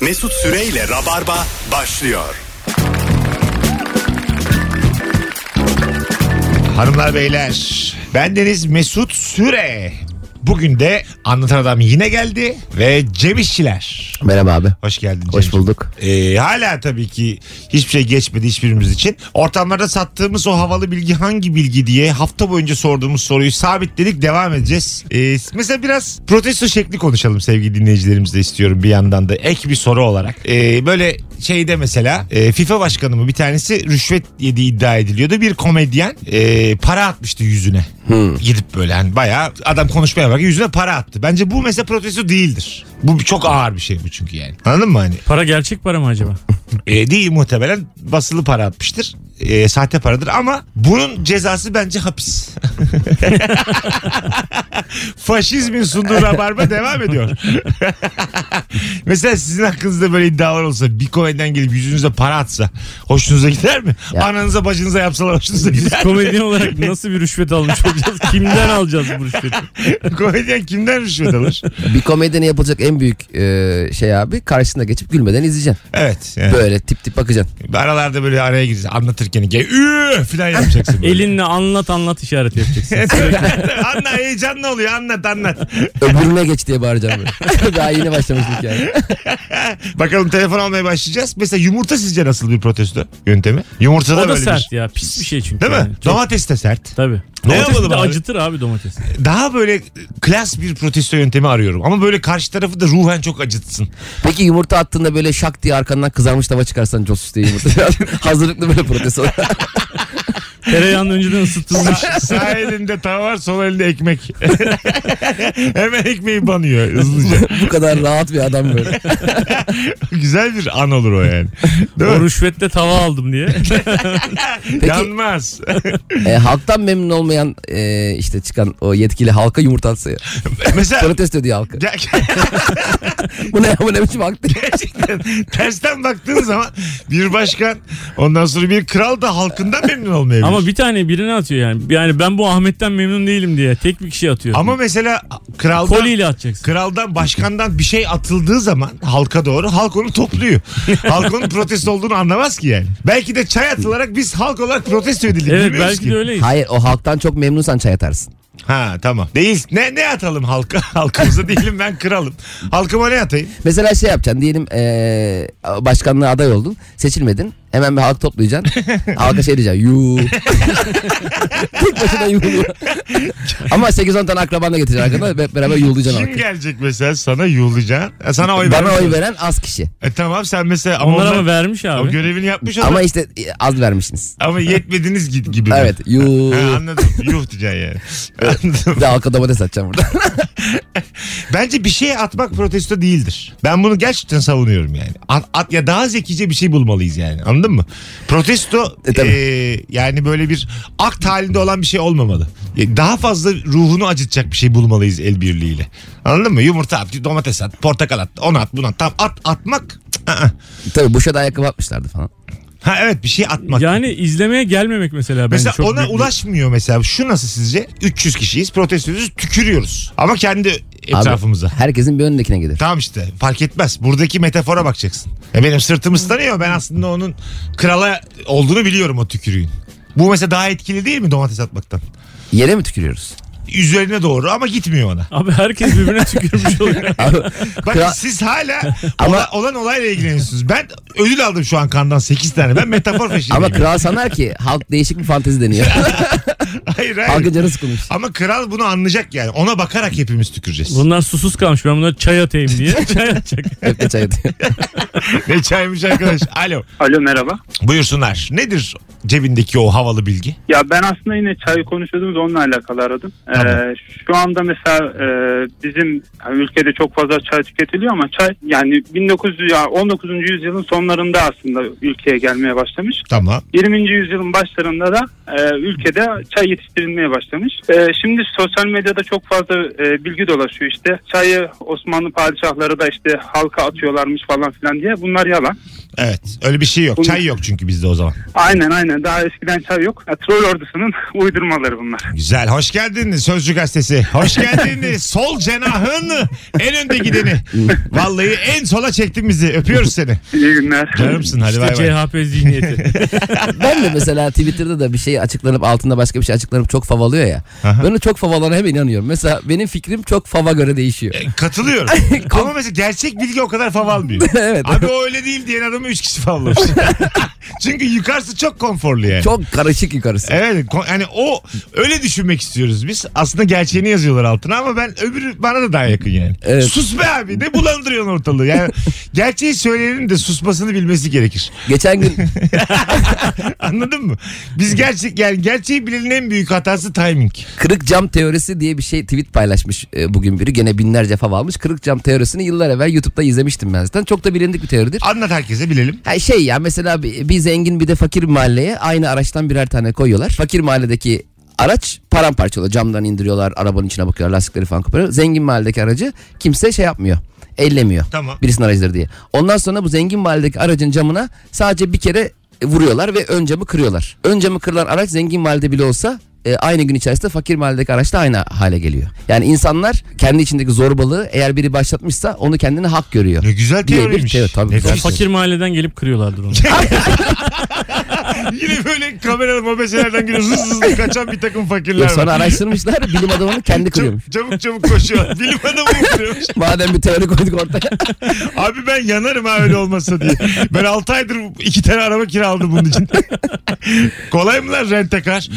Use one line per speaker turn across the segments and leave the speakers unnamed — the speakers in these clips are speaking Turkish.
Mesut Süreyle Rabarba başlıyor.
Hanımlar beyler ben Deniz Mesut Süre. Bugün de anlatan adam yine geldi ve Cem İşçiler.
Merhaba abi.
Hoş geldin Cem.
Hoş bulduk.
Ee, hala tabii ki hiçbir şey geçmedi hiçbirimiz için. Ortamlarda sattığımız o havalı bilgi hangi bilgi diye hafta boyunca sorduğumuz soruyu sabitledik devam edeceğiz. Ee, mesela biraz protesto şekli konuşalım sevgili dinleyicilerimizle istiyorum bir yandan da ek bir soru olarak. Ee, böyle şeyde mesela e, FIFA başkanı mı bir tanesi rüşvet yediği iddia ediliyordu. Bir komedyen e, para atmıştı yüzüne. Gidip böyle hani bayağı adam konuşmaya bak yüzüne para attı. Bence bu mesela protesto değildir. Bu çok ağır bir şey bu çünkü yani. Anladın mı hani?
Para gerçek para mı acaba?
E, değil muhtemelen basılı para atmıştır. E, sahte paradır ama bunun cezası bence hapis. Faşizmin sunduğu rabarba devam ediyor. Mesela sizin hakkınızda böyle iddialar olsa bir komedyen gelip yüzünüze para atsa hoşunuza gider mi?
Ya.
Ananıza bacınıza yapsalar hoşunuza gider mi?
Komedyen olarak nasıl bir rüşvet almış olacağız? Kimden alacağız bu rüşveti?
komedyen kimden rüşvet alır?
Bir komedyene yapılacak en büyük e, şey abi karşısına geçip gülmeden izleyeceksin.
Evet. yani.
Böyle tip tip bakacaksın.
Aralarda böyle araya gireceksin anlatırken üü falan yapacaksın. böyle.
Elinle anlat anlat işareti yapacaksın. Sürekli.
anla heyecanlı oluyor anlat anlat.
Öbürüne geç diye bağıracaksın. böyle. Daha yeni başlamıştık yani.
Bakalım telefon almaya başlayacağız. Mesela yumurta sizce nasıl bir protesto yöntemi? Yumurta da
o da
böyle
sert
bir...
ya. Pis bir şey çünkü.
Değil mi?
yani. Çok-
Domates de sert.
Tabii.
Ne
Domates
yapalım
bir de
abi?
acıtır abi domates.
Daha böyle klas bir protesto yöntemi arıyorum. Ama böyle karşı tarafı da ruhen çok acıtsın.
Peki yumurta attığında böyle şak diye arkandan kızarmış tava çıkarsan cosus diye yumurta. Hazırlıklı böyle protesto.
Tereyağını önceden ısıtılmış.
Sa- Sağ elinde tava var sol elinde ekmek. Hemen ekmeği banıyor hızlıca.
Bu kadar rahat bir adam böyle.
Güzel bir an olur o yani. Değil
o
mi?
rüşvetle tava aldım diye.
Yanmaz.
E, halktan memnun olmayan e, işte çıkan o yetkili halka yumurta atsa ya.
Mesela...
Protesto diyor halka.
Ger-
Bu ne, bu ne biçim halk diye.
Gerçekten tersten baktığın zaman bir başkan ondan sonra bir kral da halkından memnun olmayabilir.
Ama bir tane birine atıyor yani. Yani ben bu Ahmet'ten memnun değilim diye. Tek bir kişi atıyor.
Ama mesela kraldan
Koliyle atacaksın.
kraldan başkandan bir şey atıldığı zaman halka doğru halk onu topluyor. halk onun protesto olduğunu anlamaz ki yani. Belki de çay atılarak biz halk olarak protesto edildik.
Evet
bilmiyoruz
belki
ki.
de öyleyiz.
Hayır o halktan çok memnunsan çay atarsın.
Ha tamam. Değil. Ne ne atalım halka halkımıza değilim ben kralım. Halkıma ne atayım?
Mesela şey yapacaksın diyelim eee başkanlığa aday oldun seçilmedin hemen bir halk toplayacaksın halka şey diyeceksin yuu tek başına yuu ama 8-10 tane akrabanla getireceksin arkadan hep beraber yuğulacaksın
Kim
halkı.
gelecek mesela sana yollayacağın? E, Sana oy
Bana
vermiyor.
oy veren az kişi
E, tamam sen mesela ama
Onlar
onlar-
ama vermiş
o
abi.
görevini yapmış ama
ama işte e, az vermişsiniz
ama yetmediniz gibi. gibi.
evet yuu
Ha, anladım. Yuh diyeceksin yani. Anladım.
bir de halka domates atacağım burada
Bence bir şeye atmak protesto değildir. Ben bunu gerçekten savunuyorum yani. At, at ya daha zekice bir şey bulmalıyız yani. Anladın mı? Protesto
E, tabii.
e, yani böyle bir akt halinde olan bir şey olmamalı. E, Daha fazla ruhunu acıtacak bir şey bulmalıyız el birliğiyle. Anladın mı? Yumurta at, domates at, portakal at, onu at, bunu at. Tam at atmak. cık, ı, ı.
tabi Bush'a da ayakkabı atmışlardı falan
Ha evet bir şey atmak.
Yani izlemeye gelmemek mesela bence
Mesela
çok
ona
büyük bir-
ulaşmıyor mesela. Şu nasıl sizce? 300 kişiyiz protesto ediyoruz tükürüyoruz. Ama kendi
Abi,
etrafımıza.
herkesin bir önündekine gider
Tamam işte fark etmez. Buradaki metafora bakacaksın. E benim sırtım ıslanıyor. Ben aslında onun krala olduğunu biliyorum o tükürüğün. Bu mesela daha etkili değil mi domates atmaktan?
yere mi tükürüyoruz
Üzerine doğru ama gitmiyor ona.
Abi herkes birbirine tükürmüş oluyor.
Abi,
Bak
Kral-
siz hala
Ama-
ola- olan olayla ilgileniyorsunuz. Ben ödül aldım şu an kandan 8 tane. Ben metafor peşindeyim.
ama kral sanar ki halk değişik bir fantezi deniyor
Hayır hayır.
halkın canı sıkılmış
Ama kral bunu anlayacak yani. Ona bakarak hepimiz tüküreceğiz.
Bunlar susuz kalmış ben bunlara çay atayım diye. Çay atacak.
hep de çay atıyor
ne çaymış arkadaş. Alo.
Alo merhaba.
Buyursunlar. Nedir cebindeki o havalı bilgi?
Ya ben aslında yine çay konuşuyordunuz onunla alakalı aradım. Ee,
Tamam.
şu anda mesela e, bizim hani ülkede çok fazla çay tüketiliyor ama çay yani 1900 ya 19. yüzyılın sonlarında aslında ülkeye gelmeye başlamış.
Tamam.
20. yüzyılın başlarında da e, ülkede çay yetiştirilmeye başlamış. E, şimdi sosyal medyada çok fazla e, bilgi dolaşıyor işte. Çayı Osmanlı padişahları da işte halka atıyorlarmış falan filan diye. Bunlar yalan.
Evet. Öyle bir şey yok. Çay yok çünkü bizde o zaman.
Aynen aynen daha eskiden çay yok. Ya, troll ordusunun uydurmaları bunlar.
Güzel. Hoş geldiniz Sözcü Gazetesi. Hoş geldiniz. Sol cenahın en önde gideni. Vallahi en sola çektin bizi. Öpüyoruz seni.
İyi günler.
Canımsın. Hadi bay bay.
CHP zihniyeti.
Ben de mesela Twitter'da da bir şey açıklanıp altında başka bir şey açıklanıp çok favalıyor ya.
Aha.
Ben o çok favalana hep inanıyorum. Mesela benim fikrim çok fava göre değişiyor.
Katılıyorum. Ama mesela gerçek bilgi o kadar fav almıyor.
Evet.
Abi o öyle değil diyen adamı 3 kişi favlamış. Çünkü yukarısı çok konforlu yani.
Çok karışık yukarısı.
Evet ko- yani o öyle düşünmek istiyoruz biz. Aslında gerçeğini yazıyorlar altına ama ben öbürü bana da daha yakın yani.
Evet.
Sus be abi ne bulandırıyorsun ortalığı. Yani gerçeği söyleyenin de susmasını bilmesi gerekir.
Geçen gün
Anladın mı? Biz gerçek yani gerçeği bilenin en büyük hatası timing.
kırık cam teorisi diye bir şey tweet paylaşmış e, bugün biri. Gene binlerce fav almış. Kırık cam teorisini yıllar evvel YouTube'da izlemiştim ben zaten. Çok da bilindik bir teoridir.
Anlat herkese bilelim.
Ha şey ya mesela bir, bir zengin bir de fakir mahalleye aynı araçtan birer tane koyuyorlar. Fakir mahalledeki araç paramparça oluyor. Camdan indiriyorlar, arabanın içine bakıyorlar, lastikleri falan koparıyor. Zengin mahalledeki aracı kimse şey yapmıyor. Ellemiyor.
Tamam.
Birisinin aracıdır diye. Ondan sonra bu zengin mahalledeki aracın camına sadece bir kere e, vuruyorlar ve ön camı kırıyorlar. Ön camı kırılan araç zengin mahallede bile olsa e, aynı gün içerisinde fakir mahalledeki araç da aynı hale geliyor. Yani insanlar kendi içindeki zorbalığı eğer biri başlatmışsa onu kendine hak görüyor.
Ne güzel
Diye bir
teoriymiş.
teori, tabii.
Nefis.
Tabii.
Fakir mahalleden gelip kırıyorlardır onu.
Yine böyle kameralı mobeselerden gibi hızlı hızlı kaçan bir takım fakirler
Yok, sonra
var.
araştırmışlar bilim adamını kendi kırıyormuş.
Çabuk, çabuk çabuk koşuyor. Bilim adamı vuruyormuş.
Madem bir teori koyduk ortaya.
Abi ben yanarım ha öyle olmasa diye. Ben 6 aydır iki tane araba kiraladım bunun için. Kolay mı lan rentekar?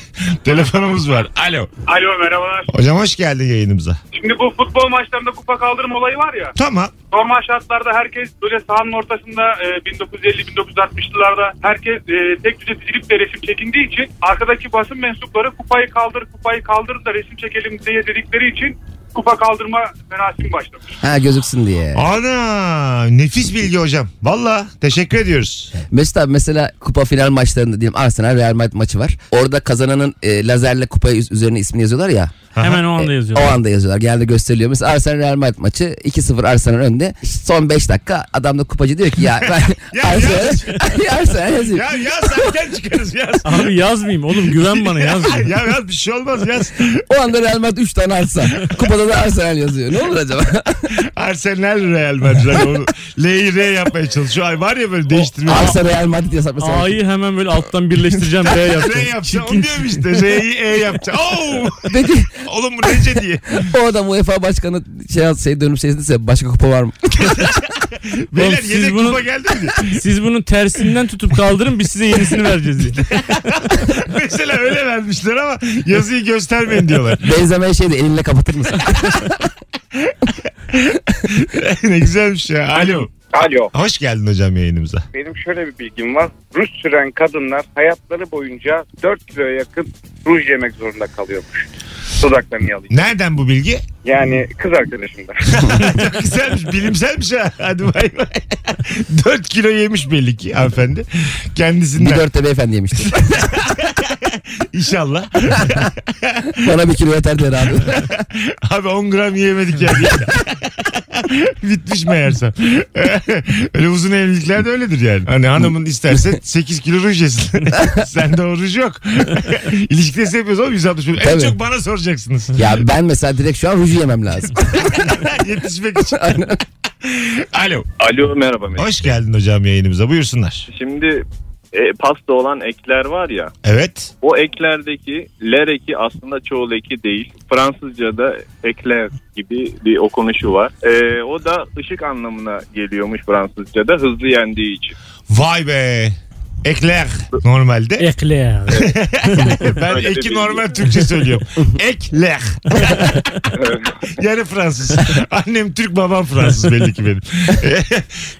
Telefonumuz var. Alo.
Alo merhabalar.
Hocam hoş geldin yayınımıza.
Şimdi bu futbol maçlarında kupa kaldırma olayı var ya.
Tamam.
Normal şartlarda herkes böyle sahanın ortasında e, 1950-1960'larda herkes e, tek düzeticilikle resim çekindiği için arkadaki basın mensupları kupayı kaldır kupayı kaldır da resim çekelim diye dedikleri için kupa kaldırma merasimi başlamış.
Ha gözüksün diye.
Ana nefis bilgi hocam. Valla teşekkür ediyoruz.
Mesut abi mesela kupa final maçlarında diyelim Arsenal Real Madrid maçı var. Orada kazananın e, lazerle kupaya üz- üzerine ismini yazıyorlar ya.
Hemen o anda
E,
yazıyor.
O anda yazıyorlar. Genelde gösteriliyor. Mesela Arsenal Real Madrid maçı 2-0 Arsenal önde. Son 5 dakika adam da kupacı diyor ki ya ben
Ya
Arsenal, Arsenal yazıyor.
Ya yaz erken çıkarız yaz.
Abi yazmayayım oğlum güven bana yazmayayım.
ya yaz bir şey olmaz yaz.
O anda Real Madrid 3 tane Arsenal. Kupada da Arsenal yazıyor. Ne olur acaba?
Arsenal Real Madrid. Hani onu L'yi R yapmaya çalışıyor. Ay var ya böyle değiştirme.
Arsenal Real Madrid yasaklasın.
A'yı hemen böyle alttan birleştireceğim B
R
yapacağım.
yapacağım. Onu diyorum işte. R'yi E yapacağım. Oo!
Peki
Oğlum bu nece diye.
o adam UEFA başkanı şey, yaz- şey dönüp şey istese başka kupa var mı?
Beyler
siz
yedek
bunu-
kupa geldi mi diye.
Siz bunun tersinden tutup kaldırın biz size yenisini vereceğiz diye.
Mesela öyle vermişler ama yazıyı göstermeyin diyorlar.
Benzemeye şey de elinle kapatır mısın?
ne güzelmiş ya. Alo.
Alo.
Hoş geldin hocam yayınımıza.
Benim şöyle bir bilgim var. Ruj süren kadınlar hayatları boyunca 4 kiloya yakın ruj yemek zorunda kalıyormuş. Dudaklarını yalayıp.
Nereden bu bilgi?
Yani kız arkadaşımda.
Çok güzelmiş. Bilimselmiş ha. Hadi bay bay. 4 kilo yemiş belli ki hanımefendi. Kendisinden.
Bir dörtte beyefendi yemişti.
İnşallah.
Bana bir kilo yeter der abi.
Abi 10 gram yiyemedik yani. Bitmiş meğersem. Öyle uzun evlilikler de öyledir yani. Hani hanımın isterse 8 kilo ruj yesin. Sende o ruj yok. İlişkidesi yapıyoruz oğlum 160 En
Tabii.
çok bana soracaksınız.
Ya ben mesela direkt şu an ruju yemem lazım.
Yetişmek için. Alo.
Alo merhaba Mesut.
Hoş geldin hocam yayınımıza. Buyursunlar.
Şimdi e, pasta olan ekler var ya
Evet.
o eklerdeki ler eki aslında çoğul eki değil. Fransızca'da ekler gibi bir okunuşu var. E, o da ışık anlamına geliyormuş Fransızca'da hızlı yendiği için.
Vay be. Ekler normalde.
Ekle.
ben
Öyle
eki
bir-
normal Türkçe söylüyorum. Ekler. yani Fransız. Annem Türk babam Fransız belli ki benim.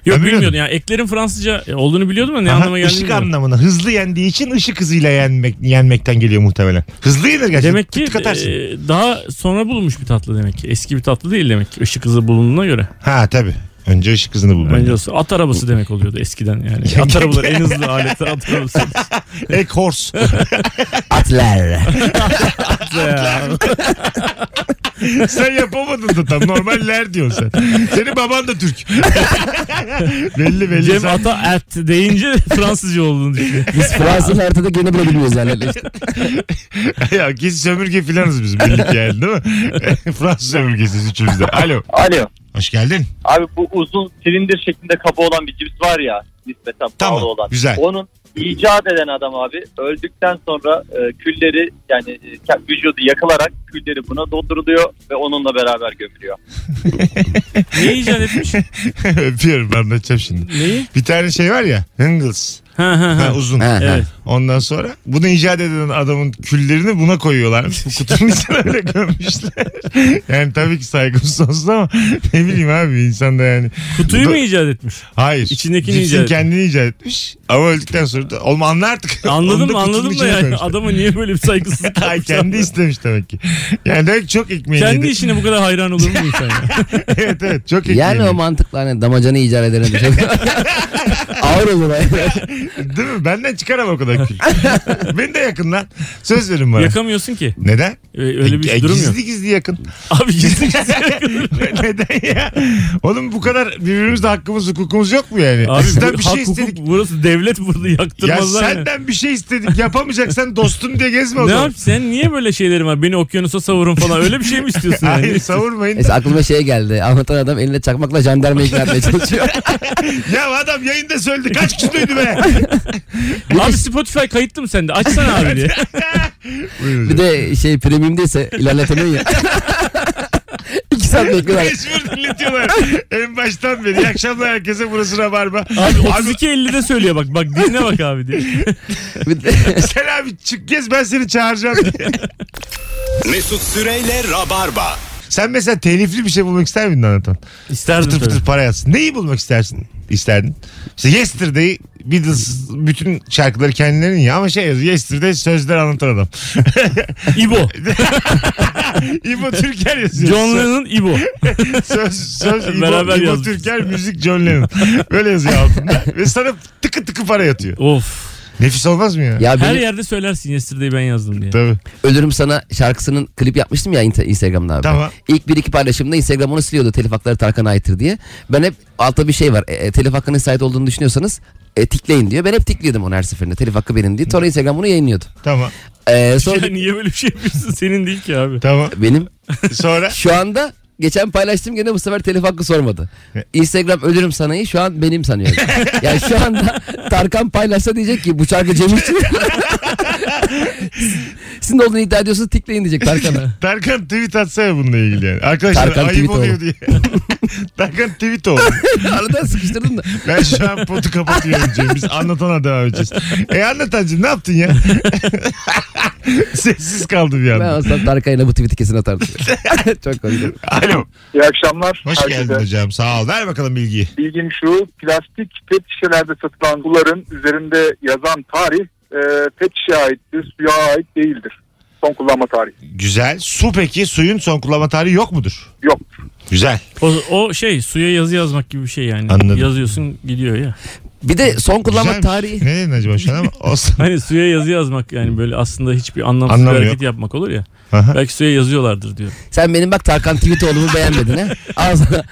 Yok
Ben
bilmiyordum ya eklerin Fransızca e, olduğunu biliyordum da ne
Aha,
anlama geldiğini
ışık
bilmiyorum.
anlamına hızlı yendiği için ışık hızıyla yenmek, yenmekten geliyor muhtemelen. Hızlı yenir gerçekten.
Demek ki
Tık katarsın.
e, daha sonra bulunmuş bir tatlı demek ki. Eski bir tatlı değil demek ki. Işık hızı bulunduğuna göre.
Ha tabii. Önce ışık hızını bulman.
Bence olsa at arabası demek oluyordu eskiden yani. At arabaları en hızlı aletler at arabası.
Ek horse.
Atlar.
sen yapamadın da tam. Normaller diyorsun sen. Senin baban da Türk. belli belli.
Cem
sen-
Ata Ert deyince Fransızca olduğunu düşünüyor.
Biz Fransız haritada gene bile bilmiyoruz yani.
ya kesin sömürge filanız biz belli ki yani değil mi? Fransız sömürgesiz üçümüz de. Alo.
Alo.
Hoş geldin.
Abi bu uzun silindir şeklinde kaba olan bir cips var ya nispeten
Tamam,
pahalı olan.
güzel.
Onun icat eden adam abi öldükten sonra e, külleri yani e, ke- vücudu yakılarak külleri buna dolduruluyor ve onunla beraber gömülüyor.
Niye icat etmiş?
Öpüyorum ben anlatacağım şimdi.
Neyi?
Bir tane şey var ya. Hingles.
Ha ha
Ha,
ha.
uzun.
Ha, ha.
Evet.
Ondan sonra bunu icat eden adamın küllerini buna koyuyorlar. Bu kutunun içine öyle koymuşlar. Yani tabii ki saygım sonsuz ama ne bileyim abi insan da yani.
Kutuyu mu icat etmiş?
Hayır.
İçindekini
Cipsin
icat etmiş.
kendini icat etmiş. Ama öldükten sonra da oğlum anla artık. Onu
Anladım
da kutunun
anladım da
içine
yani
koymuşlar.
adama niye böyle bir saygısızlık
Ay
yapmış
kendi
abi?
istemiş demek ki. Yani demek ki çok ekmeğini
Kendi
yedi.
işine bu kadar hayran olur mu insan ya?
evet evet çok ekmeğini
Yani o
yedi.
mantıkla hani damacanı icat edene düşer. Ağır olur. yani.
Değil mi? Benden çıkaramam o kadar kül. Beni de yakın lan. Söz verin bana.
Yakamıyorsun ki.
Neden?
Ee, Öyle
E,
bir durum yok.
Gizli gizli yakın.
Abi gizli gizli.
Neden ya? Oğlum bu kadar birbirimizde hakkımız hukukumuz yok mu yani?
Abi
Sizden
bu,
bir
hak
şey
hukuk
istedik.
burası devlet burada
Ya
yaktırmazlar. yani.
senden bir şey istedik. Yapamayacaksan dostum diye gezme o
Ne
zaman.
yap sen niye böyle şeylerim var? Beni okyanusa savurun falan. Öyle bir şey mi istiyorsun yani?
Hayır savurmayın.
Neyse aklıma şey geldi. Anlatan adam eline çakmakla jandarma ikna etmeye çalışıyor.
ya adam yayında söyledi. Kaç kişi duydu be?
abi Spotify kayıtlı mı sende? Açsana abi diye.
Buyurun.
Bir de şey premiumdeyse ilerletemiyor ya. İki saat bekliyorlar.
Mecbur dinletiyorlar. en baştan beri. İyi akşamlar herkese. Burası Rabarba.
Abi 32.50'de söylüyor bak. Bak dinle bak abi diye.
Bir de-
Sen abi çık gez ben seni çağıracağım.
Mesut Süreyle Rabarba.
Sen mesela telifli bir şey bulmak ister miydin anlatan?
İsterdim
Pıtır
tabii.
pıtır para yatsın. Neyi bulmak istersin? İsterdin. İşte Yesterday Beatles bütün şarkıları kendilerinin ya ama şey yazıyor. Yesterday sözler anlatan adam.
İbo.
İbo Türker yazıyor.
John Lennon İbo.
Söz, söz İbo,
Beraber
İbo
yazmış.
Türker müzik John Lennon. Böyle yazıyor altında. Ve sana tıkı tıkı para yatıyor.
Of.
Nefis olmaz mı ya?
ya
Her
benim
yerde söylersin Yesterday'i ben yazdım diye.
Tabii.
Ölürüm Sana şarkısının klip yapmıştım ya inter- Instagram'da abi.
Tamam.
İlk bir iki paylaşımda Instagram onu siliyordu telif hakları Tarkan'a aittir diye. Ben hep altta bir şey var. E, e, telif hakkının sahip olduğunu düşünüyorsanız e, tikleyin diyor. Ben hep tikliyordum onu her seferinde. Telif hakkı benim diye. Sonra Instagram bunu yayınlıyordu.
Tamam.
E, sonra
Ya niye böyle bir şey yapıyorsun? Senin değil ki abi.
Tamam.
benim
Sonra
şu anda geçen paylaştım gene bu sefer telif hakkı sormadı. Instagram ölürüm sanayı şu an benim sanıyor. yani şu anda Tarkan paylaşsa diyecek ki bu şarkı Cem için. Sizin de olduğunu iddia ediyorsunuz tikleyin diyecek Tarkan'a.
Tarkan tweet atsa ya bununla ilgili yani. Arkadaşlar
Tarkan
ayıp
tweet
oluyor
oğlu.
diye. Tarkan tweet oldu.
Arada sıkıştırdım da.
Ben şu an potu kapatıyorum Cem. Biz anlatana devam edeceğiz. E anlatancım ne yaptın ya? Sessiz kaldım bir
Ben
anda.
olsam Tarkan'la bu tweet'i kesin atardım. Çok komik.
Alo.
İyi akşamlar.
Hoş
Herkese.
geldin hocam. Sağ ol. Ver bakalım bilgiyi.
Bilgim şu plastik pet şişelerde satılan buların üzerinde yazan tarih e, pet şişeye aittir. Suya ait değildir. Son kullanma tarihi.
Güzel. Su peki suyun son kullanma tarihi yok mudur?
Yok.
Güzel.
O, o şey suya yazı yazmak gibi bir şey yani.
Anladım.
Yazıyorsun gidiyor ya.
Bir de son kullanma
Güzelmiş.
tarihi.
Ne dedin acaba şu an ama olsun.
Hani suya yazı yazmak yani böyle aslında hiçbir anlamsız
Anlamı
bir
yok.
hareket yapmak olur ya.
Aha.
Belki suya yazıyorlardır diyor.
Sen benim bak Tarkan tweet oğlumu beğenmedin ha. Al sana.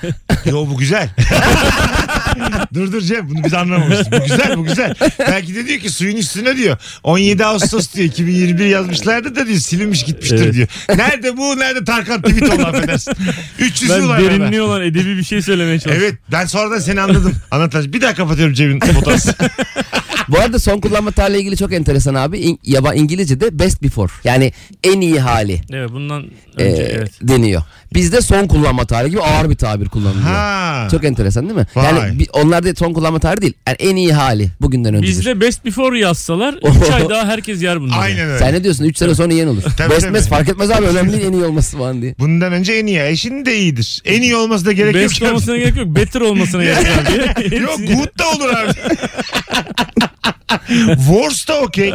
Yo bu güzel. dur dur Cem bunu biz anlamamıştık. Bu güzel bu güzel. Belki de diyor ki suyun üstüne diyor. 17 Ağustos diyor 2021 yazmışlardı da diyor silinmiş gitmiştir
Evet.
diyor. Nerede bu nerede Tarkan tweet oldu affedersin. 300 yıl
Ben
var arada.
derinliği olan edebi bir şey söylemeye çalışıyorum.
Evet ben sonradan seni anladım. Anlataç bir daha kapatıyorum Cem'in fotoğrafı.
Bu arada son kullanma tarihiyle ilgili çok enteresan abi. İn, yaba İngilizce'de best before. Yani en iyi hali
Evet. bundan
e,
önce evet.
deniyor. Bizde son kullanma tarihi gibi ağır bir tabir kullanılıyor.
Ha.
Çok enteresan değil mi?
Vay.
Yani bi- onlarda son kullanma tarihi değil. Yani en iyi hali bugünden öncedir.
Bizde best before yazsalar 3 ay daha herkes yer bunları.
Aynen öyle.
Sen ne diyorsun? 3 sene sonra yeni olur.
Tabii,
best
tabii.
mes fark etmez abi. Önemli değil en iyi olması falan diye.
Bundan önce en iyi. Eşin de iyidir. En iyi olması da gerek
Best
yok.
olmasına gerek yok. Better olmasına gerek yok. diye.
Yok
Hepsini-
good da olur abi. Worst da okey.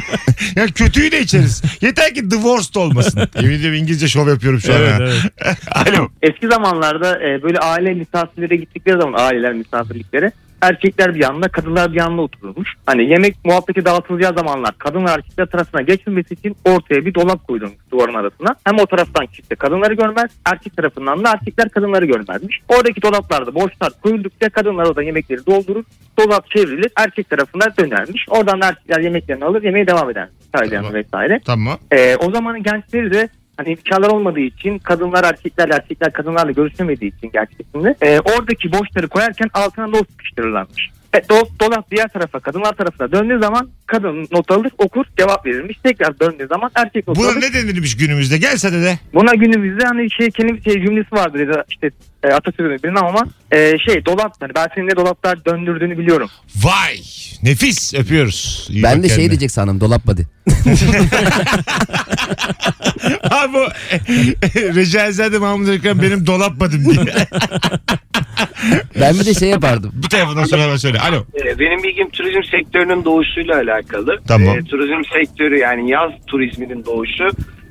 ya kötüyü de içeriz. Yeter ki the worst olmasın. Yemin ediyorum İngilizce şov yapıyorum şu
Evet,
an. ha.
evet.
Alo.
Eski zamanlarda e, böyle aile misafirlere gittikleri zaman aileler misafirliklere erkekler bir yanına kadınlar bir yanına oturulmuş. Hani yemek muhabbeti dağıtılacağı zamanlar kadın ve erkekler tarafına geçmemesi için ortaya bir dolap koydurmuş duvarın arasına. Hem o taraftan kimse kadınları görmez erkek tarafından da erkekler kadınları görmezmiş. Oradaki dolaplarda boşlar koyuldukça kadınlar orada yemekleri doldurur. Dolap çevrilir erkek tarafına dönermiş. Oradan da erkekler yemeklerini alır yemeğe devam eder.
Tamam.
Tamam. vesaire.
Tamam.
Ee, o zamanın gençleri de hani imkanlar olmadığı için kadınlar erkeklerle erkekler kadınlarla görüşemediği için gerçekten de e, oradaki boşları koyarken altına not sıkıştırırlarmış. E, do- dolap diğer tarafa kadınlar tarafına döndüğü zaman kadın not alır okur cevap verilmiş. Tekrar döndüğü zaman erkek not
Buna
alır.
ne denilmiş günümüzde? Gelse de de.
Buna günümüzde hani şey kelime şey cümlesi vardır ya da işte e, atasözünü bilmem ama e, şey dolap hani ben senin ne dolaplar döndürdüğünü biliyorum.
Vay. Nefis. Öpüyoruz. İyi
Ben
bak
de şey
kendine.
diyecek sandım dolap body.
Ha bu Recaizade Mahmut Ekrem benim dolap badım diye.
Ben bir de şey yapardım.
Bu telefondan sonra hemen söyle. Alo.
Ee, Benim bilgim turizm sektörünün doğuşuyla alakalı.
Tamam.
Ee, turizm sektörü yani yaz turizminin doğuşu.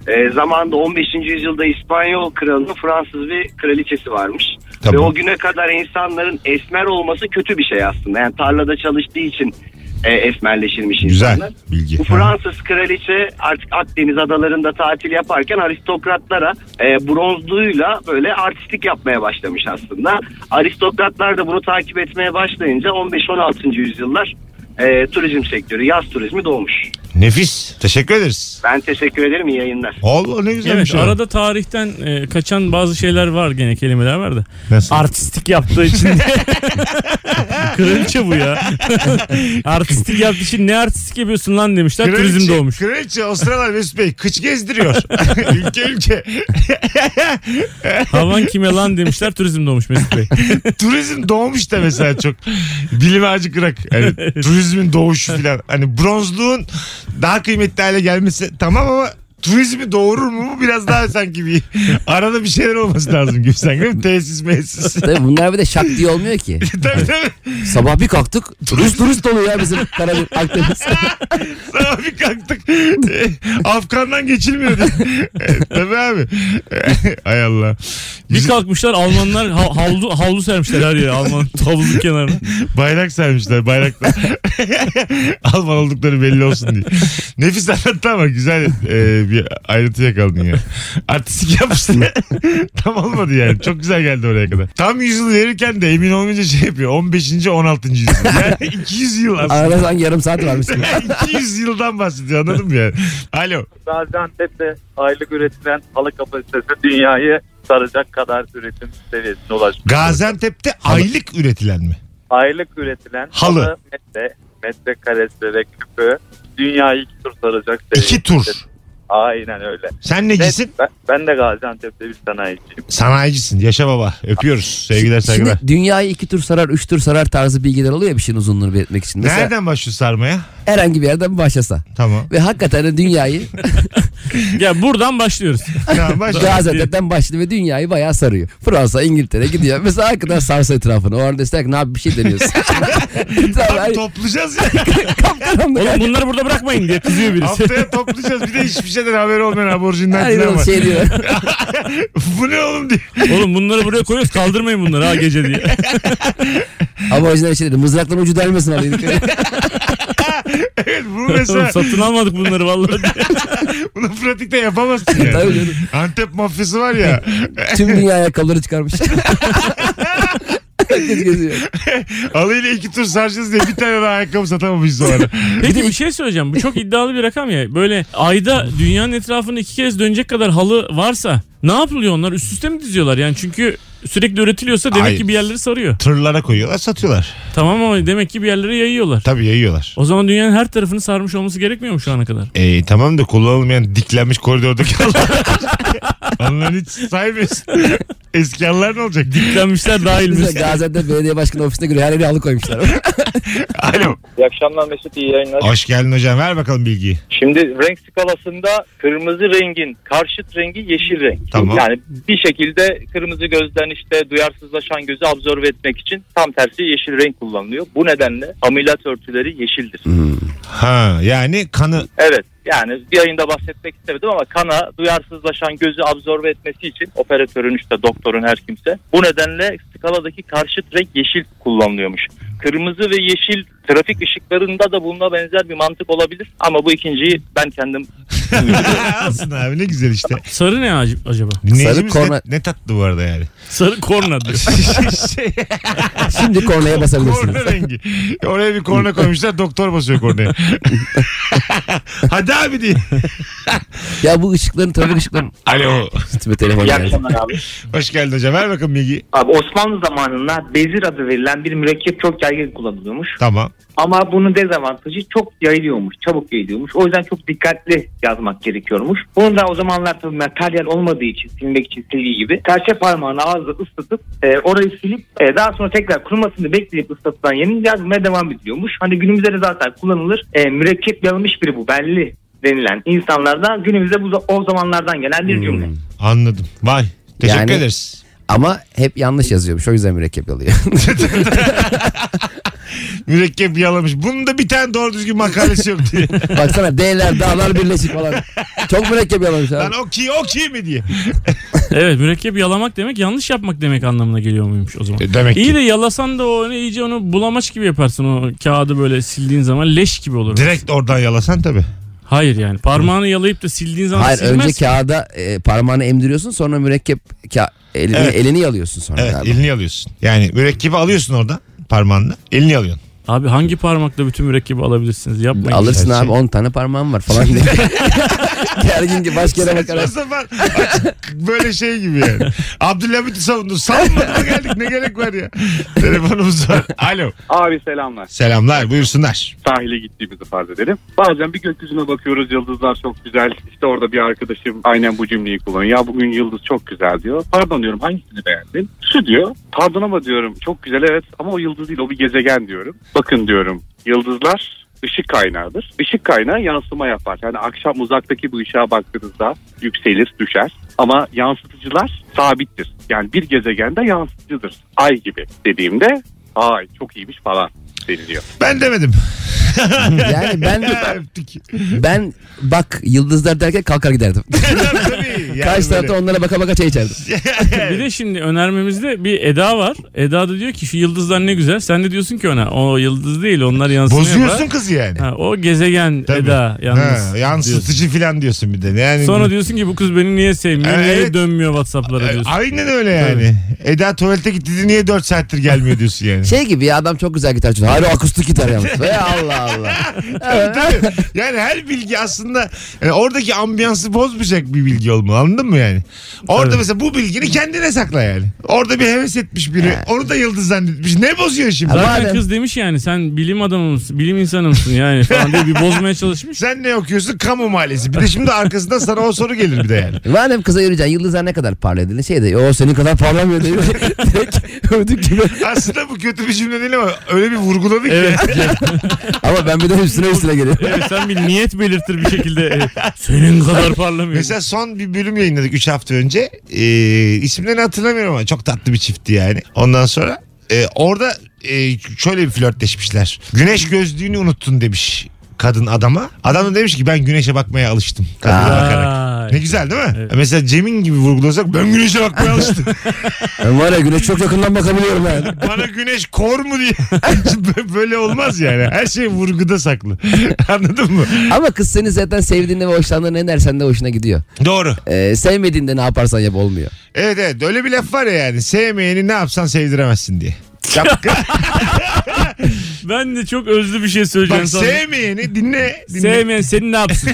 E, zamanında 15. yüzyılda İspanyol kralının Fransız bir kraliçesi varmış.
Tamam.
Ve o güne kadar insanların esmer olması kötü bir şey aslında. Yani tarlada çalıştığı için e, esmerleşilmiş insanlar.
Güzel bilgi.
Bu Fransız kraliçe artık Akdeniz adalarında tatil yaparken aristokratlara e, bronzluğuyla böyle artistik yapmaya başlamış aslında. Aristokratlar da bunu takip etmeye başlayınca 15-16. yüzyıllar e, turizm sektörü, yaz turizmi doğmuş.
Nefis. Teşekkür ederiz.
Ben teşekkür ederim, iyi yayınlar.
Allah ne güzelmiş.
Evet
o.
arada tarihten e, kaçan bazı şeyler var gene kelimeler var da.
Nasıl?
Artistik yaptığı için diye. Kraliçe bu ya. artistik yaptığı için ne artistik yapıyorsun lan demişler
Kraliçe-
turizm doğmuş.
Kraliçe o sıralar Mesut Bey kıç gezdiriyor. ülke ülke.
Havan kime lan demişler turizm doğmuş Mesut Bey.
Turizm doğmuş da mesela çok. Bilime acık bırak. Yani turizmin doğuşu falan. Hani bronzluğun daha kıymetli hale gelmesi tamam ama turizmi doğurur mu Bu biraz daha sanki bir arada bir şeyler olması lazım gibi sanki değil mi? Tesis mesis.
Tabii bunlar bir de şak diye olmuyor ki.
tabii tabii.
Sabah bir kalktık turist turist dolu ya bizim Karadeniz Akdeniz.
Sabah bir kalktık. E, Afgan'dan geçilmiyor diye. E, tabii abi. E, Ay Allah.
Bir kalkmışlar Almanlar ha- havlu, havlu sermişler her yere Alman havlunun kenarına.
Bayrak sermişler bayraklar. Alman oldukları belli olsun diye. Nefis anlattı ama güzel e, bir ayrıntı yakaladın ya. Artistik yapmıştı. Tam olmadı yani. Çok güzel geldi oraya kadar. Tam 100 yıl verirken de emin olmayınca şey yapıyor. 15. 16. yüzyıl. Yani 200 yıl aslında.
Arada sanki yarım saat varmış. gibi.
200 yıldan bahsediyor anladın mı yani? Alo.
Gaziantep'te aylık üretilen halı kapasitesi dünyayı saracak kadar üretim seviyesine ulaşmış.
Gaziantep'te aylık üretilen mi?
Aylık üretilen
Halı.
metre, metre karesi ve küpü dünyayı iki tur saracak
İki tur.
Aynen öyle.
Sen necisin?
Ben, ben de Gaziantep'te bir sanayiciyim.
Sanayicisin. Yaşa baba. Öpüyoruz. Sevgiler saygılar.
Şimdi dünyayı iki tur sarar, üç tur sarar tarzı bilgiler oluyor ya bir şeyin uzunluğunu belirtmek için. Mesela
Nereden başlıyor sarmaya?
herhangi bir yerden başlasa.
Tamam.
Ve hakikaten de dünyayı
Ya buradan başlıyoruz.
Tamam başla.
Gaziantep'ten başladı ve dünyayı bayağı sarıyor. Fransa, İngiltere gidiyor. Mesela hakikaten sarsa etrafını. O arada ister ki ne abi bir şey deniyorsun. Etrafı
Abi
her-
toplayacağız ya.
kapkaranlık.
Oğlum bunları burada bırakmayın diye kızıyor
şey-
birisi.
Haftaya toplayacağız. Bir de hiçbir şeyden haberi olmayan aborjinden
Her
filan
yıl
var.
şey diyor.
Bu ne oğlum diye.
Oğlum bunları buraya koyuyoruz kaldırmayın bunları ha gece diye.
Ama orijinal şey dedi. Mızrakların ucu delmesin abi.
Evet, bunu
Oğlum
mesela
satın almadık bunları vallahi. diye.
bunu pratikte yapamazsın yani.
Tabii canım.
Antep mafyası var ya.
Tüm dünya ayakkabıları çıkarmış. Herkes geziyor.
Alıyla iki tur saracağız diye bir tane daha ayakkabı satamamışız o ara.
Peki bir şey söyleyeceğim. Bu çok iddialı bir rakam ya. Böyle ayda dünyanın etrafını iki kez dönecek kadar halı varsa ne yapılıyor onlar? Üst üste mi diziyorlar? Yani çünkü sürekli üretiliyorsa demek
Hayır.
ki bir yerleri sarıyor.
Tırlara koyuyorlar satıyorlar.
Tamam ama demek ki bir yerlere yayıyorlar.
Tabii yayıyorlar.
O zaman dünyanın her tarafını sarmış olması gerekmiyor mu şu ana kadar?
E, tamam da kullanılmayan diklenmiş koridordaki halılar. Onların hiç saymıyorsun. Eski halılar ne olacak?
Diklenmişler dahil mi?
Mesela Gaziantep Belediye Başkanı ofisine göre her yere halı koymuşlar.
Alo.
İyi akşamlar Mesut iyi yayınlar.
Hoş geldin hocam. Ver bakalım bilgiyi.
Şimdi renk skalasında kırmızı rengin karşıt rengi yeşil renk.
Tamam.
Yani bir şekilde kırmızı gözden işte duyarsızlaşan gözü absorbe etmek için tam tersi yeşil renk kullanılıyor. Bu nedenle amilat örtüleri yeşildir.
Ha yani kanı
Evet yani bir yayında bahsetmek istemedim ama kana duyarsızlaşan gözü absorbe etmesi için operatörün işte doktorun her kimse. Bu nedenle skaladaki karşıt renk yeşil kullanılıyormuş.
kırmızı ve yeşil trafik ışıklarında da bununla benzer bir mantık olabilir. Ama bu ikinciyi ben kendim
Aslında abi ne güzel işte.
Sarı ne ac- acaba?
Dinleyicimiz
Sarı korna-
ne, ne tatlı bu arada yani.
Sarı korna diyor.
şey,
Şimdi kornaya basabilirsiniz.
korna rengi. Oraya bir korna koymuşlar doktor basıyor kornaya. Hadi abi diye.
ya bu ışıkların trafik ışıkların.
Alo.
Gitme telefon
İyi
geldi.
akşamlar abi.
Hoş geldin hocam. Ver bakın bilgi.
Abi Osmanlı zamanında bezir adı verilen bir mürekkep çok yaygın kullanılıyormuş.
Tamam.
Ama bunun dezavantajı çok yayılıyormuş, çabuk yayılıyormuş. O yüzden çok dikkatli yazmak gerekiyormuş. Bunu da o zamanlar tabii materyal olmadığı için, silmek için silgi gibi serçe parmağını ağızla ıslatıp e, orayı silip e, daha sonra tekrar kurumasını bekleyip ıslatılan yeni yazmaya devam ediliyormuş. Hani günümüzde de zaten kullanılır. E, mürekkep yanılmış biri bu belli denilen insanlardan günümüzde bu o zamanlardan gelen bir cümle.
Anladım. Vay. Teşekkür
Yani-
ederiz.
Ama hep yanlış yazıyormuş. O yüzden mürekkep alıyor.
Mürekkep yalamış. Bunun da bir tane doğru düzgün makalesi yok diye.
Baksana D'ler dağlar birleşik falan. Çok mürekkep yalamış
Lan
abi.
o ki o ki mi diye.
evet mürekkep yalamak demek yanlış yapmak demek anlamına geliyor muymuş o zaman?
E, demek
İyi
ki.
de yalasan da o iyice onu bulamaç gibi yaparsın o kağıdı böyle sildiğin zaman leş gibi olur.
Direkt oradan yalasan tabii.
Hayır yani parmağını yalayıp da sildiğin zaman
Hayır
silmez.
önce kağıda e, parmağını emdiriyorsun sonra mürekkep ka- elini,
Evet.
elini yalıyorsun sonra
Evet
galiba.
elini alıyorsun. Yani mürekkebi alıyorsun oradan parmağınla. Elini alıyorsun.
Abi hangi parmakla bütün mürekkebi alabilirsiniz yapmayın.
Alırsın
Gerçi.
abi 10 tane parmağım var falan diye. Gergin gibi baş kere
Saçma
bakarak.
sapan. Böyle şey gibi yani. Abdülhamit'i savundu. Savunmadıma geldik. Ne gerek var ya? Telefonumuz var. Alo.
Abi selamlar.
Selamlar. Buyursunlar.
Sahile gittiğimizi farz edelim. Bazen bir gökyüzüne bakıyoruz yıldızlar çok güzel. İşte orada bir arkadaşım aynen bu cümleyi kullanıyor. Ya bugün yıldız çok güzel diyor. Pardon diyorum hangisini beğendin? Şu diyor. Pardon ama diyorum çok güzel evet ama o yıldız değil o bir gezegen diyorum. Bakın diyorum yıldızlar ışık kaynağıdır. Işık kaynağı yansıma yapar. Yani akşam uzaktaki bu ışığa baktığınızda yükselir, düşer. Ama yansıtıcılar sabittir. Yani bir gezegende yansıtıcıdır. Ay gibi dediğimde ay çok iyiymiş falan deniliyor.
Ben demedim.
Yani ben
Ha, Öptük.
ben bak yıldızlar derken kalkar giderdim.
Tabii. Yani
Karşı
böyle.
tarafta onlara baka baka çay içerdim.
Bir de şimdi önermemizde bir Eda var. Eda da diyor ki şu yıldızlar ne güzel. Sen de diyorsun ki ona o yıldız değil onlar yansıma
Bozuyorsun
yapar.
kızı yani.
Ha, o gezegen
Tabii.
Eda yalnız.
Ha, yansıtıcı falan diyorsun bir de. Yani
Sonra diyorsun ki bu kız beni niye sevmiyor?
Ha,
niye
evet.
dönmüyor Whatsapp'lara diyorsun.
Aynen öyle yani. Eda tuvalete gitti niye 4 saattir gelmiyor diyorsun yani.
Şey gibi ya adam çok güzel gitar çalıyor. Hala akustik gitar yalnız. Ve Allah Allah.
Tabii, tabii. Yani her bilgi aslında yani oradaki ambiyansı bozmayacak bir bilgi olmalı anladın mı yani? Orada mesela bu bilgini kendine sakla yani. Orada bir heves etmiş biri onu da yıldız zannetmiş. Ne bozuyor şimdi?
Ama-
Zaten
Madem-
kız demiş yani sen bilim adamı mısın, bilim insanı mısın yani falan diye bir bozmaya çalışmış.
Sen ne okuyorsun? Kamu mahallesi. Bir de şimdi arkasından sana o soru gelir bir de yani.
Madem kıza yürüyeceksin yıldızlar ne kadar parlıyor dedin. Şey de o senin kadar parlamıyor dedi. Direkt öldük gibi.
Aslında bu kötü bir cümle değil ama öyle bir vurguladı ki.
Evet.
Ama ben bir de üstüne üstüne geliyorum.
evet sen bir niyet belirtir bir şekilde. Evet, Senin kadar parlamıyor.
Mesela son bir bölüm yayınladık 3 hafta önce. Ee, isimlerini hatırlamıyorum ama çok tatlı bir çiftti yani. Ondan sonra e, orada e, şöyle bir flörtleşmişler. Güneş gözlüğünü unuttun demiş kadın adama. Adam da demiş ki ben güneşe bakmaya alıştım. Kadına
Aa.
bakarak.
Vay.
Ne güzel değil mi?
Evet.
Mesela Cem'in gibi vurgulasak ben güneşe bakmaya alıştım.
Ben var ya güneş çok yakından bakabiliyorum yani.
Bana güneş kor mu diye. Böyle olmaz yani. Her şey vurguda saklı. Anladın mı?
Ama kız seni zaten sevdiğinde ve hoşlandığında ne dersen de hoşuna gidiyor.
Doğru.
Ee, sevmediğinde ne yaparsan yap olmuyor.
Evet evet öyle bir laf var ya yani. Sevmeyeni ne yapsan sevdiremezsin diye.
Ben de çok özlü bir şey söyleyeceğim
Bak
sana.
sevmeyeni dinle. dinle.
Sevmeyen senin ne yapsın?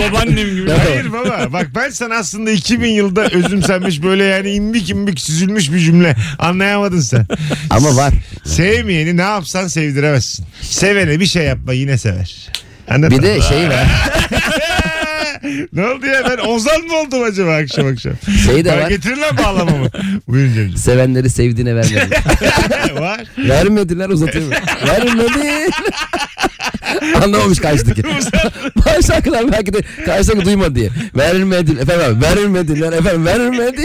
Babaannem gibi.
Hayır baba bak ben sana aslında 2000 yılda özümsenmiş böyle yani imbik imbik süzülmüş bir cümle anlayamadın sen.
Ama var.
Sevmeyeni ne yapsan sevdiremezsin. Sevene bir şey yapma yine sever. Anladın
Bir de
mı?
şey var.
ne oldu ya ben Ozan mı oldum acaba akşam akşam?
Şey de
Ben
var.
getirin lan bağlamamı. Buyurun Cemciğim.
Sevenleri sevdiğine vermedi.
var.
Vermediler uzatıyor. Vermedi. Anlamamış karşıdaki. Bazı şarkılar belki de karşıdaki duymadı diye. Verilmediler efendim verilmediler efendim verilmedi.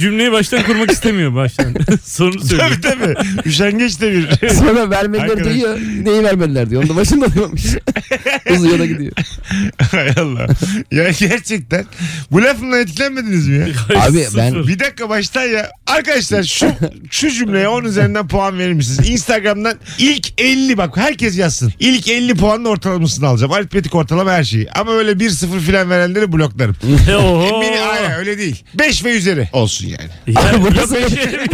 Cümleyi baştan kurmak istemiyor baştan. Sorunu söylüyor.
tabii tabii. Üşengeç de bir.
Sonra vermediler
Arkadaş.
duyuyor. Neyi vermediler diyor. Onu da başında duymamış. Uzuyor da gidiyor.
Hay Allah. Ya gerçekten. Bu lafımla etkilenmediniz mi ya?
Abi ben
Bir dakika baştan ya. Arkadaşlar şu şu cümleye 10 üzerinden puan verir misiniz? Instagram'dan ilk 50 bak herkes yazsın. İlk 50 puanın ortalamasını alacağım. Aritmetik ortalama her şeyi. Ama öyle 1-0 filan verenleri bloklarım.
E, oho.
Beni hayır öyle değil. 5 ve üzeri olsun yani.
Ya,
Abi bu
ya
nasıl-
beş et-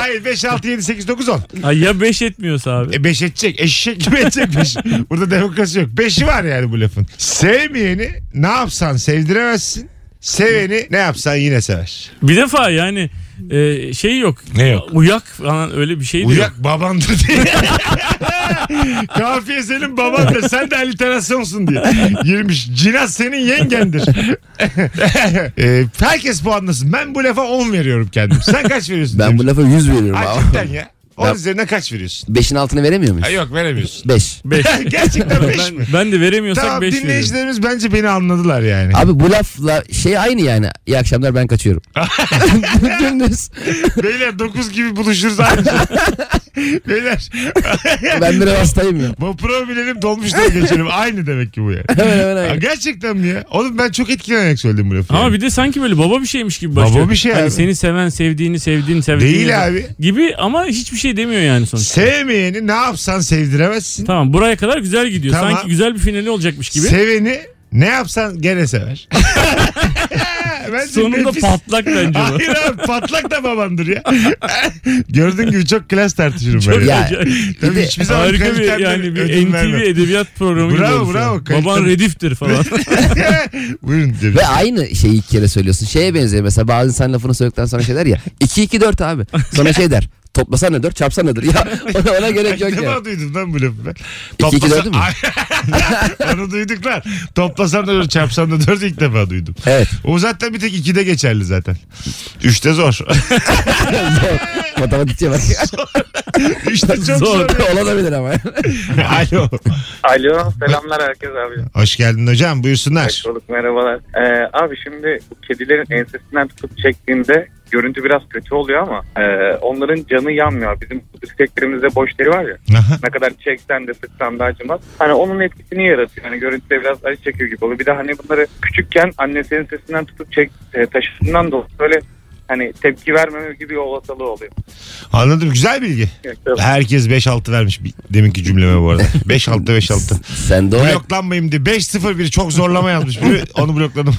Hayır 5, 6, 7, 8, 9, 10.
Ay ya 5 etmiyorsa abi.
E 5 edecek. Eşek gibi edecek 5. Burada demokrasi yok. 5'i var yani bu lafın. Sevmeyeni ne yapsan sevdiremezsin. Seveni ne yapsan yine sever.
Bir defa yani e, şey yok.
Ne yok?
Uyak falan öyle bir şey de yok.
Uyak babandır diye. Kafiye senin babandır. Sen de aliterasyonsun diye. Girmiş. Cinaz senin yengendir. e, herkes puanlasın. Ben bu lafa 10 veriyorum kendim. Sen kaç veriyorsun?
ben bu lafa 100 veriyorum
Ay,
abi.
cidden ya. 10
Ben-
üzerine kaç veriyorsun?
5'in altını veremiyor muyuz?
Ha, yok veremiyorsun.
5.
Gerçekten 5 mi?
Ben, ben de veremiyorsak
Tamam
5 veriyorum.
dinleyicilerimiz bence beni anladılar yani.
Abi bu lafla şey aynı yani. İyi akşamlar ben kaçıyorum. Dümdüz.
Beyler 9 gibi buluşuruz ayrıca. Beyler.
Ben biraz hastayım ya.
Vapura binelim dolmuşlara geçelim. Aynı demek ki bu ya.
Hemen hemen
Aa,
aynı.
Gerçekten mi ya? Oğlum ben çok etkilenerek söyledim bu lafı.
Ama
yani.
bir de sanki böyle baba bir şeymiş gibi
Baba
başlıyor.
bir şey
Hani
abi.
seni seven, sevdiğini, sevdiğini, sevdiğini.
Değil abi.
Gibi ama hiçbir şey demiyor yani sonuçta.
Sevmeyeni ne yapsan sevdiremezsin.
Tamam buraya kadar güzel gidiyor.
Tamam.
Sanki güzel bir finali olacakmış gibi.
Seveni ne yapsan gene sever. Bence
Sonunda
nefis.
patlak bence bu.
Hayır abi patlak da babandır ya. Gördüğün gibi çok klas tartışırım ben.
Ya,
Acayip.
Tabii
bir de-
hiçbir zaman
Harika bir
kalitemden
yani bir
ödün
NTV
vermem.
edebiyat programı gibi
Bravo,
olmuş
bravo.
yani.
Kaliteli.
Baban rediftir falan.
Buyurun. Cemil.
Ve aynı şeyi iki kere söylüyorsun. Şeye benziyor mesela bazı insan lafını söyledikten sonra şey der ya. 2-2-4 abi. Sonra şey der. Toplasan ne 4 çarpsan nedir? Ya ona, ona gerek yok ya.
İlk defa duydum lan bu lafı ben.
İki iki dördü mü?
Onu duyduk lan. Toplasan da dört çarpsan da dört ilk defa duydum.
Evet.
O zaten bir tek ikide geçerli zaten. Üçte zor.
Zor. Matematikçe bak.
Üçte çok zor.
Zor. Olabilir ama.
Alo.
Alo selamlar herkes abi.
Hoş geldin hocam buyursunlar.
Hoş bulduk merhabalar. Ee, abi şimdi bu kedilerin ensesinden tutup çektiğinde görüntü biraz kötü oluyor ama e, onların canı yanmıyor. Bizim bisikletlerimizde boş deri var ya.
Aha.
Ne kadar çeksen de sıksan da acımaz. Hani onun etkisini yaratıyor. Hani görüntüde biraz acı çekiyor gibi oluyor. Bir de hani bunları küçükken annesinin sesinden tutup çek, e, taşısından dolayı böyle hani tepki vermeme gibi bir olasılığı oluyor.
Anladım güzel bilgi. Herkes 5-6 vermiş bir- deminki cümleme bu arada. 5-6 5-6.
Sen de olarak
Bloklanmayayım diye 5-0-1 çok zorlama yazmış. biri. Onu blokladım.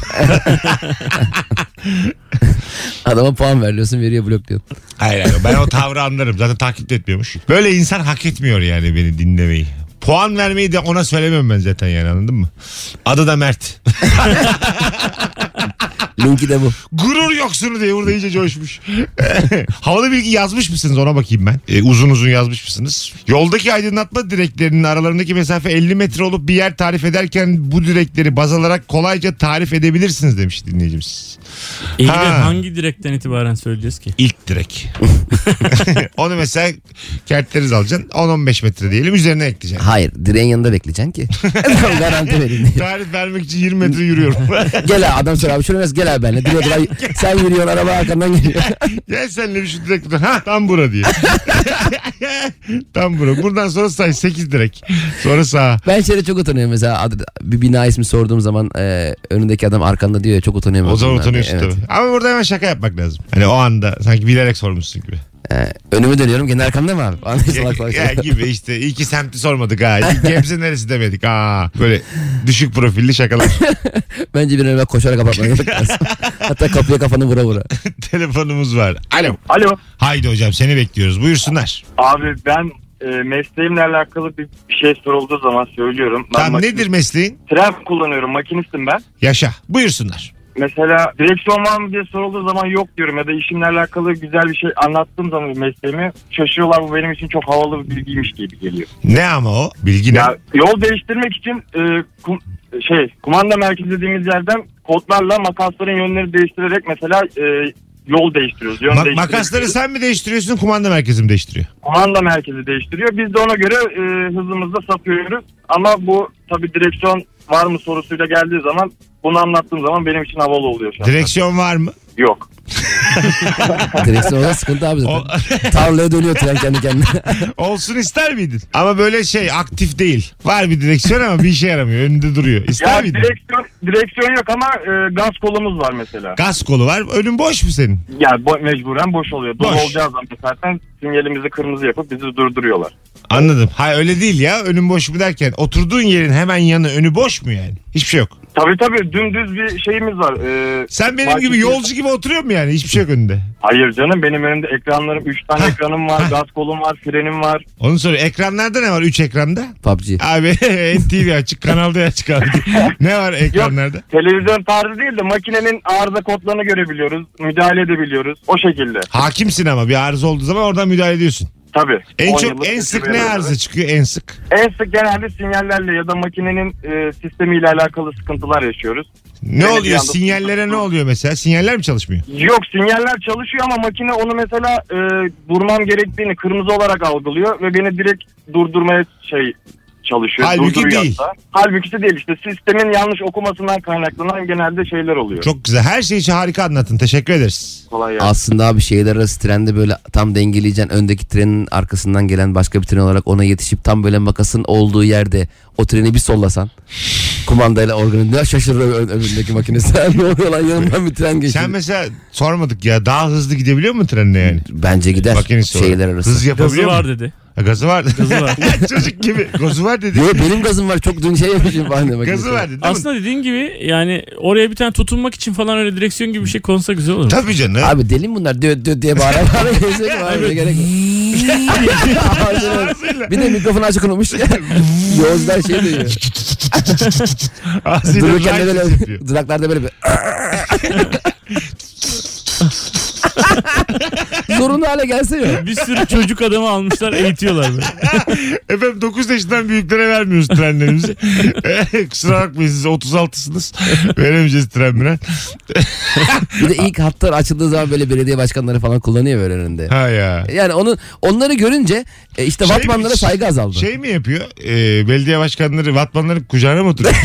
adama puan veriyorsun veriyor blokluyorsun.
Hayır hayır ben o tavrı anlarım. Zaten takip de etmiyormuş. Böyle insan hak etmiyor yani beni dinlemeyi. Puan vermeyi de ona söylemiyorum ben zaten yani anladın mı? Adı da Mert.
Linki de bu.
Gurur yoksunu diye burada iyice coşmuş. Havalı bilgi yazmış mısınız ona bakayım ben. E, uzun uzun yazmış mısınız? Yoldaki aydınlatma direklerinin aralarındaki mesafe 50 metre olup bir yer tarif ederken bu direkleri baz alarak kolayca tarif edebilirsiniz demiş dinleyicimiz.
Elini
Ha.
hangi direkten itibaren söyleyeceğiz ki?
İlk direk. Onu mesela kertleriz alacaksın. 10-15 metre diyelim üzerine ekleyeceksin.
Hayır direğin yanında bekleyeceksin ki. Tamam, Garanti vereyim diye.
Tarif vermek için 20 metre yürüyorum.
Gel abi, adam sonra abi şöyle biraz gel abi benimle. Direğe kadar sen yürüyorsun araba arkandan geliyor.
Gel senle bir şu direkt. Ha tam bura diye. tam bura. Buradan sonra say 8 direkt. Sonra sağa.
Ben şeyde çok utanıyorum mesela adı- bir bina ismi sorduğum zaman e, önündeki adam arkanda diyor ya çok utanıyorum.
O zaman
Ben de,
utanıyorsun
evet.
tabii. Ama burada hemen şaka yapmak lazım. Hani o anda sanki bilerek sormuşsun gibi.
E, önümü dönüyorum gene arkamda mı abi? Anlıyorsun salak salak
ya
şeyler.
gibi işte iyi ki semti sormadık ha. İyi ki Gebze neresi demedik. Aa, böyle düşük profilli şakalar.
Bence bir önüme koşarak kapatmaya lazım. Hatta kapıya kafanı vura vura.
Telefonumuz var. Alo.
Alo.
Haydi hocam seni bekliyoruz. Buyursunlar.
Abi ben e, mesleğimle alakalı bir bir şey sorulduğu zaman söylüyorum. Ben
Tam
makin-
nedir mesleğin?
Tren kullanıyorum makinistim ben.
Yaşa. Buyursunlar.
Mesela direksiyon var mı diye sorulduğu zaman yok diyorum ya da işimle alakalı güzel bir şey anlattığım zaman mesleğimi şaşırıyorlar bu benim için çok havalı bir bilgiymiş gibi geliyor.
Ne ama o? Bilgi ne?
Ya yol değiştirmek için e, kum- şey kumanda merkezi dediğimiz yerden kodlarla makasların yönleri değiştirerek mesela e, yol değiştiriyoruz. Yön
Ma-
değiştiriyoruz.
makasları sen mi değiştiriyorsun kumanda merkezi mi değiştiriyor?
kumanda merkezi değiştiriyor. Biz de ona göre e, hızımızda sapıyoruz. Ama bu tabii direksiyon var mı sorusuyla geldiği zaman bunu anlattığım zaman benim için havalı oluyor şu an.
Direksiyon var mı?
Yok.
Direksiyonda sıkıntı abi zaten. Tarlaya dönüyor tren kendi kendine.
Olsun ister miydin? Ama böyle şey aktif değil. Var bir direksiyon ama bir işe yaramıyor. Önünde duruyor. İster
Ya
miydin?
direksiyon, direksiyon yok ama e, gaz kolumuz var mesela.
Gaz kolu var. Önün boş mu senin?
Ya bo- mecburen boş oluyor. Dolu
Boş.
olacağı zaman zaten sinyalimizi kırmızı yapıp bizi durduruyorlar.
Anladım. Hayır öyle değil ya. Önün boş mu derken oturduğun yerin hemen yanı önü boş mu yani? Hiçbir şey yok.
Tabii tabii dümdüz bir şeyimiz var. Ee,
Sen benim
Fark
gibi
etmiyor.
yolcu gibi oturuyor mu yani? Hiçbir şey yok önünde.
hayır canım benim önümde ekranlarım 3 tane ekranım var. gaz kolum var, frenim var.
Onu soruyor. Ekranlarda ne var? Üç ekranda.
PUBG.
Abi NTV açık. Kanalda açık abi. ne var ekranlarda?
Televizyon tarzı değil de makinenin arıza kodlarını görebiliyoruz. Müdahale edebiliyoruz. O şekilde.
Hakimsin ama bir arıza olduğu zaman oradan müdahale ediyorsun.
Tabii.
En
10
çok
yıllık
en sık ne
tecrübe.
arıza çıkıyor en sık?
En sık genelde sinyallerle ya da makinenin e, sistemiyle alakalı sıkıntılar yaşıyoruz.
Ne
Evet, bir
oluyor?
anda-
Sinyallere ne oluyor mesela? Sinyaller mi çalışmıyor?
Yok sinyaller çalışıyor ama makine onu mesela e, vurmam gerektiğini kırmızı olarak algılıyor ve beni direkt durdurmaya şey çalışıyor.
Halbuki
durduruyor
değil.
hatta. Halbuki de değil işte sistemin yanlış okumasından kaynaklanan genelde şeyler oluyor.
Çok güzel. Her şeyi için harika anlattın. Teşekkür ederiz.
kolay yani.
Aslında abi şehirler arası trende böyle tam dengeleyeceksin. Öndeki trenin arkasından gelen başka bir tren olarak ona yetişip tam böyle makasın olduğu yerde o treni bir sollasan. Kumandayla organında şaşırır ö- ö- önündeki makine. Sen ne oluyor lan yanımdan bir tren geçiyor.
Sen mesela sormadık ya daha hızlı gidebiliyor mu trenle yani?
Bence gider
Makinesi olarak.
şehirler arası.
Hız yapabiliyor
Gazı
mu?
var dedi.
Ha, gazı var.
Gazı var.
Çocuk gibi. Gazı var dedi.
Yo, benim gazım var çok dün şey yapmışım falan diye makinesi.
Gazı var dedi değil mi?
Aslında dediğin gibi yani oraya bir tane tutunmak için falan öyle direksiyon gibi bir şey konsa güzel olur.
Tabii canım.
Abi deli mi bunlar? Dö dö diye bağıra bağıra geziyor ki var. gerek yok. bir de mikrofonu açık unutmuş. Yozdan şey diyor.
Ağzıyla
Dururken de
rhyme ses yapıyor.
böyle duraklarda böyle bir... Zorunlu hale gelse ya.
Bir sürü çocuk adamı almışlar eğitiyorlar böyle.
Efendim 9 yaşından büyüklere vermiyoruz trenlerimizi. Eh, Kusura bakmayın siz 36'sınız. Veremeyeceğiz tren bile.
Bir de ilk hatlar açıldığı zaman böyle belediye başkanları falan kullanıyor böyle önünde.
Ha ya.
Yani onun onları görünce e, işte
Şey mi-
Batmanlara saygı azaldı.
Şey mi yapıyor? Ee, belediye başkanları vatmanların kucağına mı oturuyor?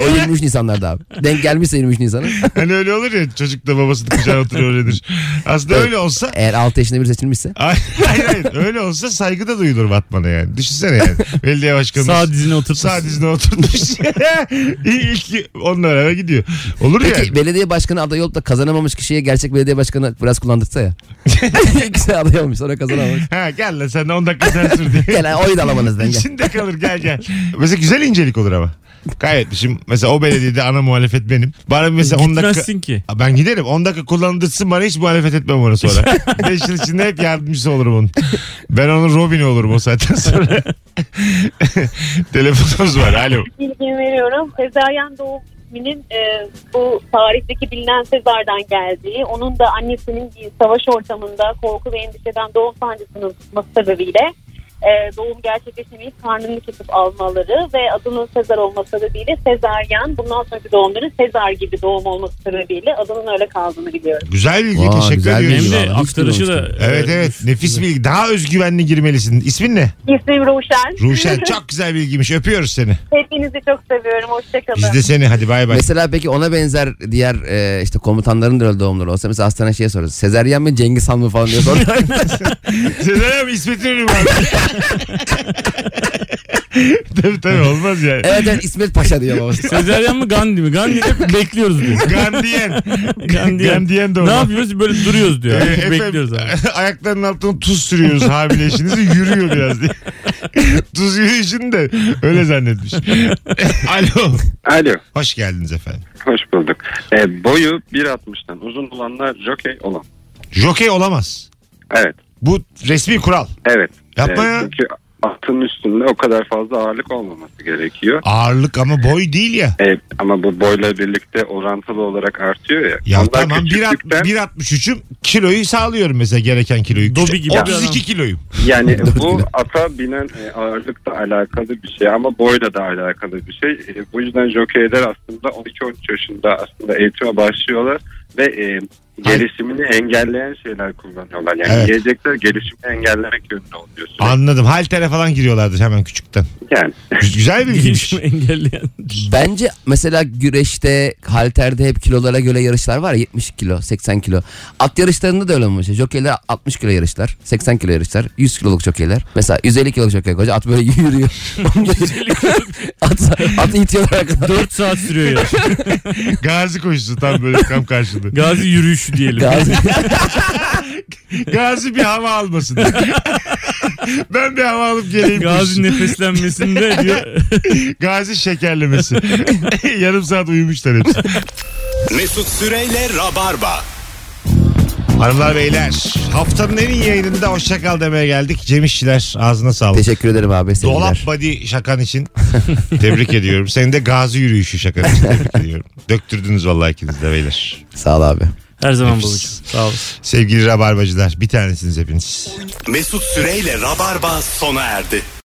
o 23 Nisan'larda abi. Denk gelmişse 23 Nisan'a.
hani öyle olur ya çocuk da babasının kucağına oturuyor öyledir. Aslında öyle olsa
Eğer 6 yaşında bir seçilmişse.
Hayır, hayır hayır. öyle olsa saygı da duyulur Vatman'a yani. Düşünsene yani. Belediye başkanı
Sağ dizine oturtmuş.
sağ dizine oturmuş. İlk onunla beraber gidiyor. Olur ya.
Peki belediye başkanı adayı olup da kazanamamış kişiye gerçek belediye başkanı biraz kullandırsa ya. İkisi aday olmuş sonra kazanamamış.
Ha gel lan sen de 10 dakika sen sür diye.
Gel ha, oy da alamanız denge.
İçinde kalır gel gel. Mesela güzel incelik olur ama. Kaybetmişim. Mesela o belediyede ana muhalefet benim. Bana mesela 10 dakika...
Gitmezsin ki.
Aa, Ben giderim. 10 dakika kullandırsın bana hiç muhalefet etmem ona sonra. 5 yıl içinde hep yardımcısı olurum onun. Ben onun Robin'i olurum o saatten sonra. Telefonumuz var. Alo.
bilgi veriyorum. Sezaryen doğum isminin e, bu tarihteki bilinen Sezar'dan geldiği, onun da annesinin bir savaş ortamında korku ve endişeden doğum sancısının tutması sebebiyle e, doğum gerçekleşemeyip karnını kesip almaları ve adının Sezar olması sebebiyle Sezaryen, bundan sonraki doğumların Sezar gibi doğum olması sebebiyle adının öyle kaldığını biliyorum.
Güzel bilgi.
Vay,
Teşekkür
güzel
ediyoruz.
Hem de
Eyvallah, hiç
aktarışı da.
Evet evet, nefis bilgi. Daha özgüvenli girmelisin. İsmin ne?
İsmim Ruşen.
Ruşen çok güzel bilgiymiş. Öpüyoruz seni.
Hepinizi çok seviyorum. Hoşçakalın.
Biz de seni. Hadi bay bay.
Mesela peki ona benzer diğer e, işte komutanların da öyle doğumları olsa mesela hastane şeye sorarız. Sezeryen mi Cengiz Han mı falan diye soruyor.
Sezen abi İsmet'in ünlü var. tabii tabii olmaz yani.
evet evet İsmet Paşa diyor babası.
Sezeryan mı Gandhi mi? Gandhi'de bekliyoruz diyor.
Gandiyen.
Gandhiyen.
Gandiyen de
Ne
olmaz.
yapıyoruz? Böyle duruyoruz diyor.
Ee, efendim,
Bekliyoruz abi.
Ayaklarının altına tuz sürüyoruz hamile eşinizi yürüyor biraz diye. tuz yürüyüşünü de öyle zannetmiş. Alo.
Alo.
Hoş geldiniz efendim.
Hoş bulduk. E, boyu 1.60'dan uzun olanlar jokey olan.
Jokey olamaz.
Evet.
Bu resmi kural.
Evet.
Yapma
E,
ya.
Çünkü atın üstünde o kadar fazla ağırlık olmaması gerekiyor.
Ağırlık ama boy değil ya.
E, ama bu boyla birlikte orantılı olarak artıyor ya.
Ya
Onlar
tamam bir alt-
küçüklükten-
1.63'üm kiloyu sağlıyorum mesela gereken kiloyu.
Dobi
Küçük-
gibi bir
32
adam.
kiloyum.
Yani
Dört
bu
kilo.
ata binen e, ağırlıkla alakalı bir şey ama boyla da alakalı bir şey. E, Bu yüzden jokeyler aslında 12-13 yaşında aslında eğitime başlıyorlar ve e, Gelişimini engelleyen şeyler kullanıyorlar. Yani
Evet.
yiyecekler gelişimini engellemek yönünde oluyor.
Anladım. Haltere falan giriyorlardı hemen küçükten.
Yani.
Gü- Güzel bir bilgiymiş.
engelleyen.
Bence mesela güreşte, halterde hep kilolara göre yarışlar var ya 70 kilo, 80 kilo. At yarışlarında da öyle olmuş. Jokeyler 60 kilo yarışlar, 80 kilo yarışlar, 100 kiloluk jokeyler. Mesela 150 kiloluk jokey koca at böyle yürüyor. at, at itiyorlar.
4 saat sürüyor yarış.
Gazi koşusu tam böyle tam karşılığı.
Gazi yürüyüşü diyelim.
Gazi-
Gazi bir hava almasın. ben bir hava alıp geleyim.
Gazi
koşusu.
nefeslenmesinde diyor.
Gazi şekerlemesi. Yarım saat uyumuşlar hepsi.
Mesut Süreyle Rabarba.
Hanımlar beyler haftanın en iyi yayınında hoşçakal demeye geldik. Cem İşçiler ağzına sağlık.
Teşekkür ederim abi. sevgiler.
Dolap body şakan için tebrik ediyorum. Senin de gazi yürüyüşü şakan için tebrik ediyorum. Döktürdünüz vallahi ikiniz de beyler.
Sağ ol abi.
Her zaman
Nefis.
babacığım. Sağ olasın.
Sevgili rabarbacılar bir tanesiniz hepiniz.
Mesut Süreyle Rabarba sona erdi.